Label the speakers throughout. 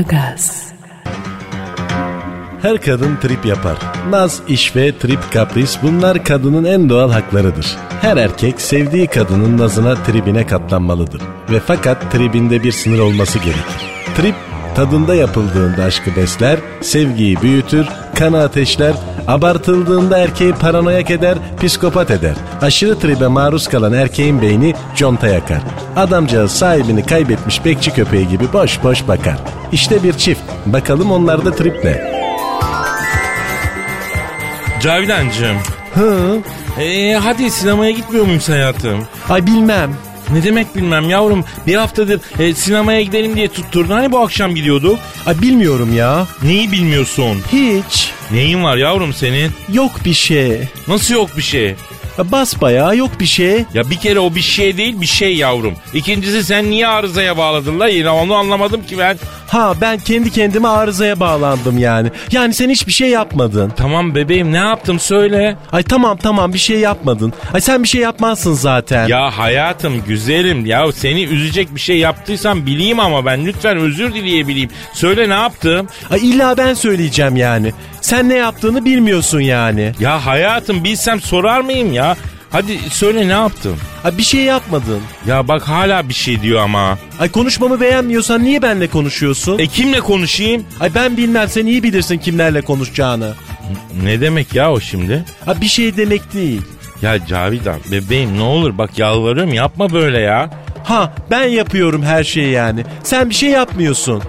Speaker 1: Aragaz,
Speaker 2: Her kadın trip yapar. Naz, iş ve trip kapris bunlar kadının en doğal haklarıdır. Her erkek sevdiği kadının nazına tribine katlanmalıdır. Ve fakat tribinde bir sınır olması gerekir. Trip tadında yapıldığında aşkı besler, sevgiyi büyütür, kanı ateşler, abartıldığında erkeği paranoyak eder, psikopat eder. Aşırı tribe maruz kalan erkeğin beyni conta yakar. Adamcağız sahibini kaybetmiş bekçi köpeği gibi boş boş bakar. İşte bir çift. Bakalım onlarda trip ne?
Speaker 3: Cavidancığım.
Speaker 2: Hı?
Speaker 3: Ee, hadi sinemaya gitmiyor muyuz hayatım?
Speaker 2: Ay bilmem.
Speaker 3: Ne demek bilmem yavrum. Bir haftadır e, sinemaya gidelim diye tutturdun. Hani bu akşam gidiyorduk?
Speaker 2: Ay bilmiyorum ya.
Speaker 3: Neyi bilmiyorsun?
Speaker 2: Hiç.
Speaker 3: Neyin var yavrum senin?
Speaker 2: Yok bir şey.
Speaker 3: Nasıl yok bir şey?
Speaker 2: Bas bayağı yok bir şey.
Speaker 3: Ya bir kere o bir şey değil bir şey yavrum. İkincisi sen niye arızaya bağladın la yine onu anlamadım ki ben.
Speaker 2: Ha ben kendi kendime arızaya bağlandım yani. Yani sen hiçbir şey yapmadın.
Speaker 3: Tamam bebeğim ne yaptım söyle.
Speaker 2: Ay tamam tamam bir şey yapmadın. Ay sen bir şey yapmazsın zaten.
Speaker 3: Ya hayatım güzelim ya seni üzecek bir şey yaptıysam bileyim ama ben lütfen özür dileyebileyim. Söyle ne yaptım?
Speaker 2: Ay illa ben söyleyeceğim yani. Sen ne yaptığını bilmiyorsun yani.
Speaker 3: Ya hayatım bilsem sorar mıyım ya? Hadi söyle ne yaptım?
Speaker 2: Ay bir şey yapmadın.
Speaker 3: Ya bak hala bir şey diyor ama.
Speaker 2: Ay konuşmamı beğenmiyorsan niye benle konuşuyorsun?
Speaker 3: E kimle konuşayım?
Speaker 2: Ay ben bilmem sen iyi bilirsin kimlerle konuşacağını.
Speaker 3: Ne demek ya o şimdi?
Speaker 2: Ay bir şey demek değil.
Speaker 3: Ya Cavidan bebeğim ne olur bak yalvarıyorum yapma böyle ya.
Speaker 2: Ha ben yapıyorum her şeyi yani. Sen bir şey yapmıyorsun.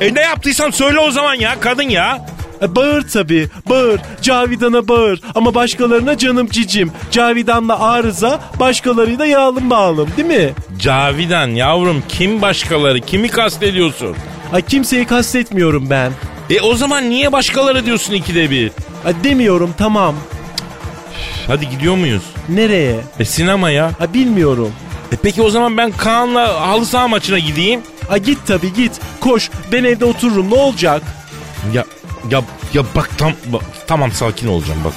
Speaker 3: E ne yaptıysam söyle o zaman ya kadın ya.
Speaker 2: E, bağır tabii bağır. Cavidan'a bağır. Ama başkalarına canım cicim. Cavidan'la arıza başkalarıyla yağlım bağlım değil mi?
Speaker 3: Cavidan yavrum kim başkaları kimi kastediyorsun?
Speaker 2: Ay kimseyi kastetmiyorum ben.
Speaker 3: E o zaman niye başkaları diyorsun ikide bir?
Speaker 2: Ay demiyorum tamam.
Speaker 3: Hadi gidiyor muyuz?
Speaker 2: Nereye?
Speaker 3: E sinemaya.
Speaker 2: Ay bilmiyorum.
Speaker 3: E peki o zaman ben Kaan'la halı saha maçına gideyim.
Speaker 2: Ay git tabii git. Koş ben evde otururum ne olacak?
Speaker 3: Ya ya ya bak tam bak, tamam sakin olacağım bak.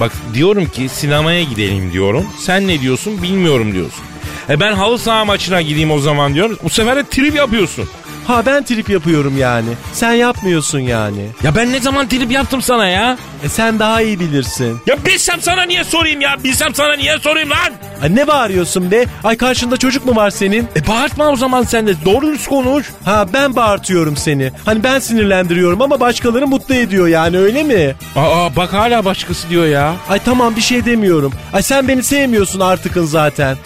Speaker 3: Bak diyorum ki sinemaya gidelim diyorum. Sen ne diyorsun bilmiyorum diyorsun. E ben halı saha maçına gideyim o zaman diyorum. Bu sefer de trip yapıyorsun.
Speaker 2: Ha ben trip yapıyorum yani. Sen yapmıyorsun yani.
Speaker 3: Ya ben ne zaman trip yaptım sana ya?
Speaker 2: E sen daha iyi bilirsin.
Speaker 3: Ya bilsem sana niye sorayım ya? Bilsem sana niye sorayım lan?
Speaker 2: Ay ne bağırıyorsun be? Ay karşında çocuk mu var senin?
Speaker 3: E bağırtma o zaman sen de. Doğru dürüst konuş.
Speaker 2: Ha ben bağırtıyorum seni. Hani ben sinirlendiriyorum ama başkaları mutlu ediyor yani öyle mi?
Speaker 3: Aa bak hala başkası diyor ya.
Speaker 2: Ay tamam bir şey demiyorum. Ay sen beni sevmiyorsun artıkın zaten.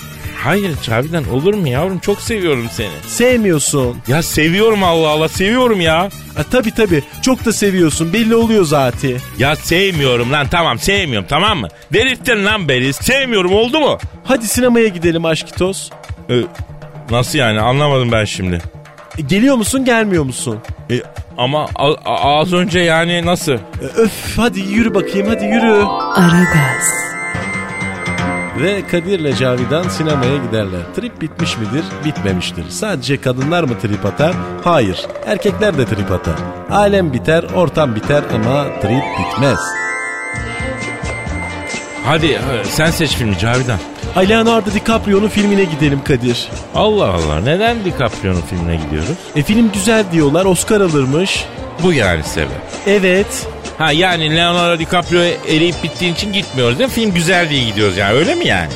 Speaker 3: Hayır Cavidan olur mu yavrum? Çok seviyorum seni.
Speaker 2: Sevmiyorsun.
Speaker 3: Ya seviyorum Allah Allah seviyorum ya.
Speaker 2: Ay tabii tabii çok da seviyorsun belli oluyor zaten.
Speaker 3: Ya sevmiyorum lan tamam sevmiyorum tamam mı? Delirttin lan beni sevmiyorum oldu mu?
Speaker 2: Hadi sinemaya gidelim aşkitos.
Speaker 3: Ee, nasıl yani anlamadım ben şimdi.
Speaker 2: E, geliyor musun gelmiyor musun?
Speaker 3: Ee, ama a- a- az önce yani nasıl?
Speaker 2: E, öf hadi yürü bakayım hadi yürü.
Speaker 1: Aragaz,
Speaker 2: Ve Kadir'le Cavidan sinemaya giderler. Trip bitmiş midir? Bitmemiştir. Sadece kadınlar mı trip atar? Hayır. Erkekler de trip atar. Alem biter, ortam biter ama trip bitmez.
Speaker 3: Hadi e, sen seç filmi Cavidan.
Speaker 2: Ay Leonardo DiCaprio'nun filmine gidelim Kadir.
Speaker 3: Allah Allah neden DiCaprio'nun filmine gidiyoruz?
Speaker 2: E film güzel diyorlar, Oscar alırmış.
Speaker 3: Bu yani sebep.
Speaker 2: Evet.
Speaker 3: Ha yani Leonardo DiCaprio eriyip bittiğin için gitmiyoruz değil mi? Film güzel diye gidiyoruz yani öyle mi yani?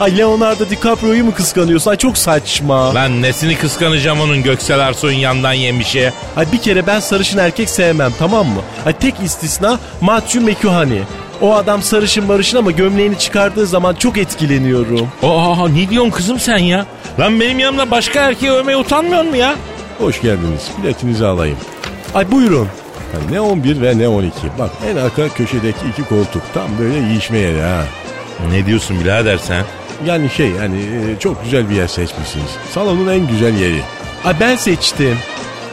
Speaker 2: Ay Leonardo DiCaprio'yu mu kıskanıyorsun? Ay çok saçma.
Speaker 3: Lan nesini kıskanacağım onun Göksel Arsoy'un yandan yemişi.
Speaker 2: Ay bir kere ben sarışın erkek sevmem tamam mı? Ay tek istisna Matthew McConaughey. O adam sarışın barışın ama gömleğini çıkardığı zaman çok etkileniyorum.
Speaker 3: Aa ne diyorsun kızım sen ya? Lan benim yanımda başka erkeği övmeye utanmıyor mu ya?
Speaker 4: Hoş geldiniz. Biletinizi alayım.
Speaker 2: Ay buyurun.
Speaker 4: Yani ne 11 ve ne 12. Bak en arka köşedeki iki koltuk tam böyle yiyişme yeri ha.
Speaker 3: Ne diyorsun birader sen?
Speaker 4: Yani şey yani e, çok güzel bir yer seçmişsiniz. Salonun en güzel yeri.
Speaker 2: Ay ben seçtim.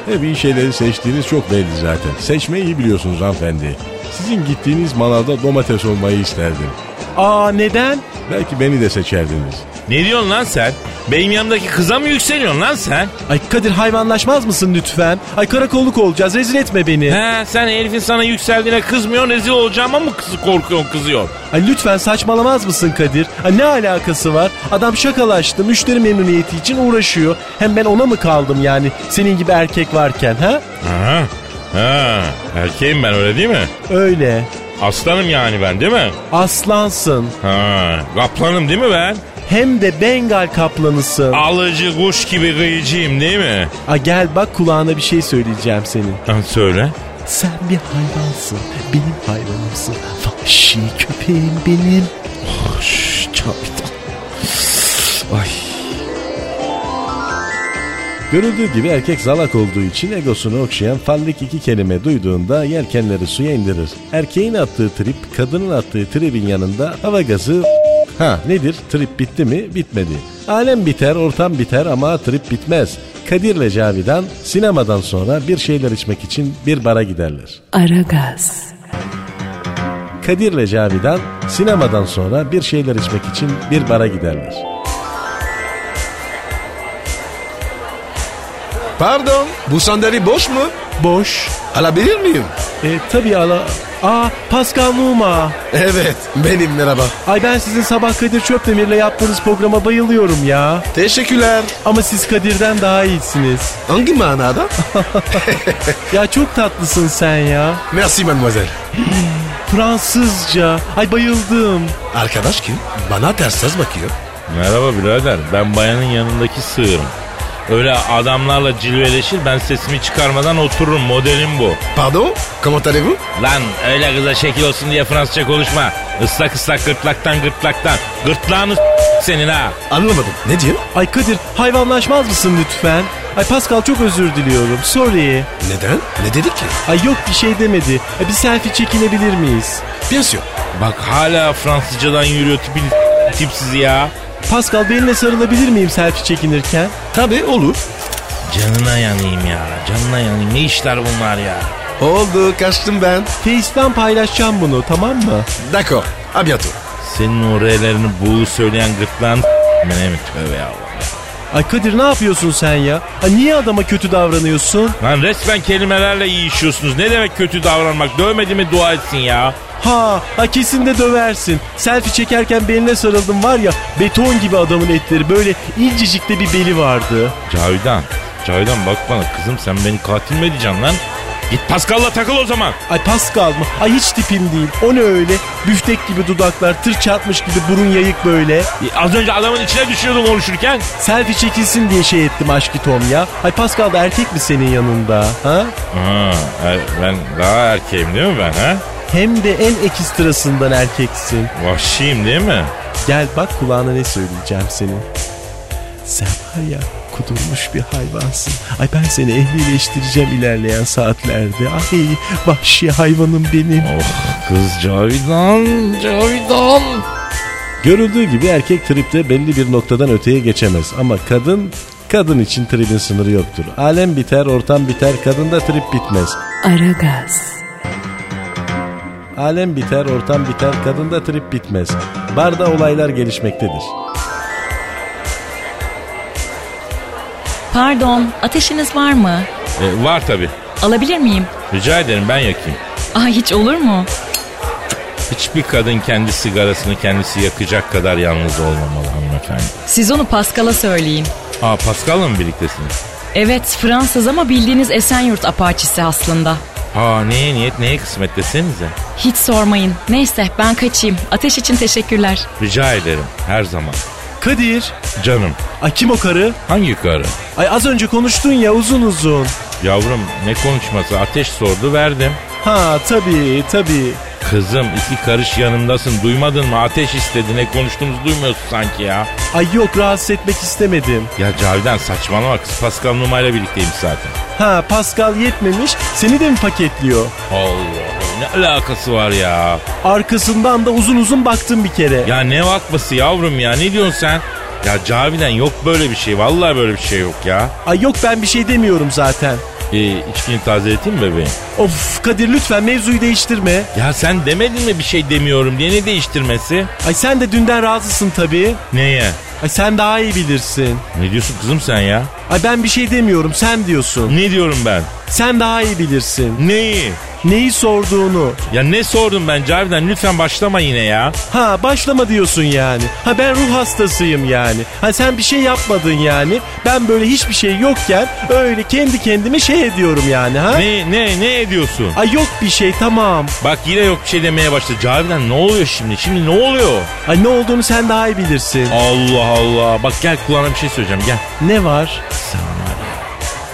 Speaker 4: Hep iyi şeyleri seçtiğiniz çok belli zaten. Seçmeyi iyi biliyorsunuz hanımefendi. Sizin gittiğiniz manavda domates olmayı isterdim.
Speaker 2: Aa neden?
Speaker 4: Belki beni de seçerdiniz.
Speaker 3: Ne diyorsun lan sen? Benim yanımdaki kıza mı yükseliyorsun lan sen?
Speaker 2: Ay Kadir hayvanlaşmaz mısın lütfen? Ay karakolluk olacağız rezil etme beni.
Speaker 3: He sen herifin sana yükseldiğine kızmıyorsun rezil olacağıma mı kızı korkuyorsun kızıyor?
Speaker 2: Ay lütfen saçmalamaz mısın Kadir? Ay ne alakası var? Adam şakalaştı müşteri memnuniyeti için uğraşıyor. Hem ben ona mı kaldım yani senin gibi erkek varken ha?
Speaker 3: Ha, ha erkeğim ben öyle değil mi?
Speaker 2: Öyle.
Speaker 3: Aslanım yani ben değil mi?
Speaker 2: Aslansın.
Speaker 3: Ha, kaplanım değil mi ben?
Speaker 2: Hem de Bengal kaplanısın.
Speaker 3: Alıcı kuş gibi kıyıcıyım değil mi?
Speaker 2: Ay gel bak kulağına bir şey söyleyeceğim senin.
Speaker 3: Ha, söyle.
Speaker 2: Sen bir hayvansın. Benim hayvanımsın. Vahşi köpeğim benim. Ah,
Speaker 4: Görüldüğü gibi erkek zalak olduğu için egosunu okşayan fallik iki kelime duyduğunda yelkenleri suya indirir. Erkeğin attığı trip, kadının attığı tribin yanında hava gazı... Ha nedir? Trip bitti mi? Bitmedi. Alem biter, ortam biter ama trip bitmez. Kadir'le Cavidan sinemadan sonra bir şeyler içmek için bir bara giderler.
Speaker 1: Aragaz,
Speaker 4: Kadir'le Cavidan sinemadan sonra bir şeyler içmek için bir bara giderler.
Speaker 5: Pardon, bu sandalye boş mu?
Speaker 2: Boş.
Speaker 5: Alabilir miyim?
Speaker 2: E tabii ala... Aa Pascal Numa.
Speaker 5: Evet, benim merhaba.
Speaker 2: Ay ben sizin sabah Kadir Çöpdemir'le yaptığınız programa bayılıyorum ya.
Speaker 5: Teşekkürler.
Speaker 2: Ama siz Kadir'den daha iyisiniz.
Speaker 5: Hangi manada?
Speaker 2: Ya çok tatlısın sen ya.
Speaker 5: Merci mademoiselle.
Speaker 2: Fransızca. Ay bayıldım.
Speaker 5: Arkadaş kim? Bana tersiz bakıyor.
Speaker 3: Merhaba birader ben bayanın yanındaki sığırım. Öyle adamlarla cilveleşir ben sesimi çıkarmadan otururum modelim bu.
Speaker 5: Pardon, comment allez-vous?
Speaker 3: Lan öyle kıza şekil olsun diye Fransızca konuşma. Islak ıslak gırtlaktan gırtlaktan. Gırtlağını s- senin ha.
Speaker 5: Anlamadım. Ne diyor?
Speaker 2: Ay Kadir hayvanlaşmaz mısın lütfen? Ay Pascal çok özür diliyorum. Sorry.
Speaker 5: Neden? Ne dedi ki?
Speaker 2: Ay yok bir şey demedi. Ay, bir selfie çekinebilir miyiz?
Speaker 5: Bien sûr.
Speaker 3: Bak hala Fransızcadan yürüyor tipin tipsiz ya.
Speaker 2: Pascal benimle sarılabilir miyim selfie çekinirken?
Speaker 5: Tabii olur.
Speaker 3: Canına yanayım ya. Canına yanayım. Ne işler bunlar ya?
Speaker 5: Oldu, kaçtım ben.
Speaker 2: Face'den paylaşacağım bunu tamam mı?
Speaker 5: D'accord, à bientôt.
Speaker 3: Senin o R'lerini buğu söyleyen gırtlağın ben emin tövbe ya Allah.
Speaker 2: Ay Kadir ne yapıyorsun sen ya? Ay niye adama kötü davranıyorsun?
Speaker 3: Lan resmen kelimelerle iyi işiyorsunuz. Ne demek kötü davranmak? Dövmedi mi dua etsin ya.
Speaker 2: Ha, ha kesin de döversin. Selfie çekerken beline sarıldım var ya beton gibi adamın etleri böyle incecik de bir beli vardı.
Speaker 3: Cavidan. Cavidan bak bana kızım sen beni katil mi edeceksin lan? Git Pascal'la takıl o zaman.
Speaker 2: Ay Pascal mı? Ay hiç tipim değil. O ne öyle? Büftek gibi dudaklar, tır çatmış gibi burun yayık böyle.
Speaker 3: E, Az önce adamın içine düşüyordun konuşurken.
Speaker 2: Selfie çekilsin diye şey ettim aşkı Tom ya. Ay Pascal da erkek mi senin yanında? Ha?
Speaker 3: Ha, e, ben daha erkeğim değil mi ben ha?
Speaker 2: Hem de en ekstrasından erkeksin.
Speaker 3: Vahşiyim değil mi?
Speaker 2: Gel bak kulağına ne söyleyeceğim senin. Sen var ya kudurmuş bir hayvansın. Ay ben seni ehlileştireceğim ilerleyen saatlerde. Ay vahşi hayvanım benim.
Speaker 3: Oh kız Cavidan, Cavidan.
Speaker 4: Görüldüğü gibi erkek tripte belli bir noktadan öteye geçemez ama kadın kadın için tribin sınırı yoktur. Alem biter, ortam biter, kadında trip bitmez.
Speaker 1: Aragaz,
Speaker 4: Alem biter, ortam biter, kadında trip bitmez. Barda olaylar gelişmektedir.
Speaker 6: Pardon, ateşiniz var mı?
Speaker 3: E, var tabi.
Speaker 6: Alabilir miyim?
Speaker 3: Rica ederim ben yakayım.
Speaker 6: Ay hiç olur mu?
Speaker 3: Hiçbir kadın kendi sigarasını kendisi yakacak kadar yalnız olmamalı hanımefendi.
Speaker 6: Siz onu Pascal'a söyleyin.
Speaker 3: Aa Pascal'la mı birliktesiniz?
Speaker 6: Evet, Fransız ama bildiğiniz Esenyurt apaçisi aslında.
Speaker 3: Aa neye niyet neye kısmet desenize.
Speaker 6: Hiç sormayın. Neyse ben kaçayım. Ateş için teşekkürler.
Speaker 3: Rica ederim her zaman.
Speaker 2: Kadir.
Speaker 3: Canım
Speaker 2: Ay kim o karı?
Speaker 3: hangi karı?
Speaker 2: Ay az önce konuştun ya uzun uzun.
Speaker 3: Yavrum ne konuşması ateş sordu verdim.
Speaker 2: Ha tabii tabii.
Speaker 3: Kızım iki karış yanımdasın duymadın mı ateş istedi ne konuştuğumuzu duymuyorsun sanki ya.
Speaker 2: Ay yok rahatsız etmek istemedim.
Speaker 3: Ya Cavidan saçmalama kız Pascal Numa'yla birlikteymiş zaten.
Speaker 2: Ha Pascal yetmemiş seni de mi paketliyor?
Speaker 3: Allah Allah, ne alakası var ya.
Speaker 2: Arkasından da uzun uzun baktım bir kere.
Speaker 3: Ya ne bakması yavrum ya ne diyorsun sen? Ya Cavidan yok böyle bir şey vallahi böyle bir şey yok ya.
Speaker 2: Ay yok ben bir şey demiyorum zaten.
Speaker 3: Ee, içkini tazeleteyim mi bebeğim?
Speaker 2: Of Kadir lütfen mevzuyu değiştirme.
Speaker 3: Ya sen demedin mi bir şey demiyorum diye ne değiştirmesi?
Speaker 2: Ay sen de dünden razısın tabii.
Speaker 3: Neye?
Speaker 2: Ay sen daha iyi bilirsin.
Speaker 3: Ne diyorsun kızım sen ya?
Speaker 2: Ay ben bir şey demiyorum sen diyorsun.
Speaker 3: Ne diyorum ben?
Speaker 2: Sen daha iyi bilirsin.
Speaker 3: Neyi?
Speaker 2: Neyi sorduğunu.
Speaker 3: Ya ne sordum ben Cavidan lütfen başlama yine ya.
Speaker 2: Ha başlama diyorsun yani. Ha ben ruh hastasıyım yani. Ha sen bir şey yapmadın yani. Ben böyle hiçbir şey yokken öyle kendi kendime şey ediyorum yani ha.
Speaker 3: Ne ne ne ediyorsun?
Speaker 2: Ay yok bir şey tamam.
Speaker 3: Bak yine yok bir şey demeye başladı. Cavidan ne oluyor şimdi? Şimdi ne oluyor?
Speaker 2: Ay ne olduğunu sen daha iyi bilirsin.
Speaker 3: Allah Allah. Bak gel kulağına bir şey söyleyeceğim gel.
Speaker 2: Ne var?
Speaker 3: Sen var ya,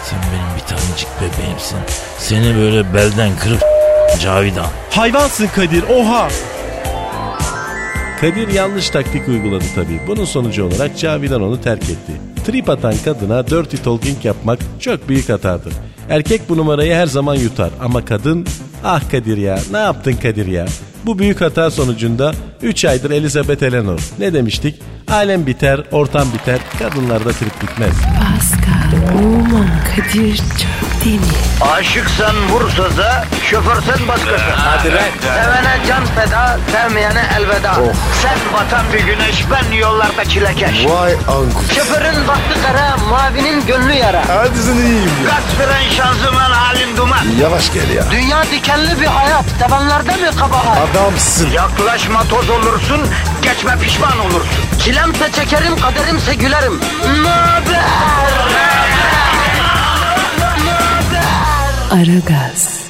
Speaker 3: sen benim bir tanecik bebeğimsin. Seni böyle belden kırıp Cavidan.
Speaker 2: Hayvansın Kadir oha.
Speaker 4: Kadir yanlış taktik uyguladı tabii. Bunun sonucu olarak Cavidan onu terk etti. Trip atan kadına dirty talking yapmak çok büyük hatadır. Erkek bu numarayı her zaman yutar ama kadın ah Kadir ya ne yaptın Kadir ya. Bu büyük hata sonucunda 3 aydır Elizabeth Eleanor. Ne demiştik? Alem biter, ortam biter, kadınlarda trip bitmez.
Speaker 1: Pascal, Oman, Kadir çok değil mi?
Speaker 7: Aşıksan vursa da şoförsen başkasın. Hadi Sevene can feda, sevmeyene elveda. Sen batan bir güneş, ben yollarda çilekeş.
Speaker 5: Vay anku.
Speaker 7: Şoförün baktı kara, mavinin gönlü yara.
Speaker 5: Hadi sen iyiyim ya.
Speaker 7: Kasperen şanzıman halin duman.
Speaker 5: Yavaş gel ya.
Speaker 7: Dünya dikenli bir hayat, sevenlerde mi kabahar?
Speaker 5: Adamsın.
Speaker 7: Yaklaşma toz olursun, geçme pişman olursun. Çilemse çekerim, kaderimse gülerim. Möber!
Speaker 1: Aragaz.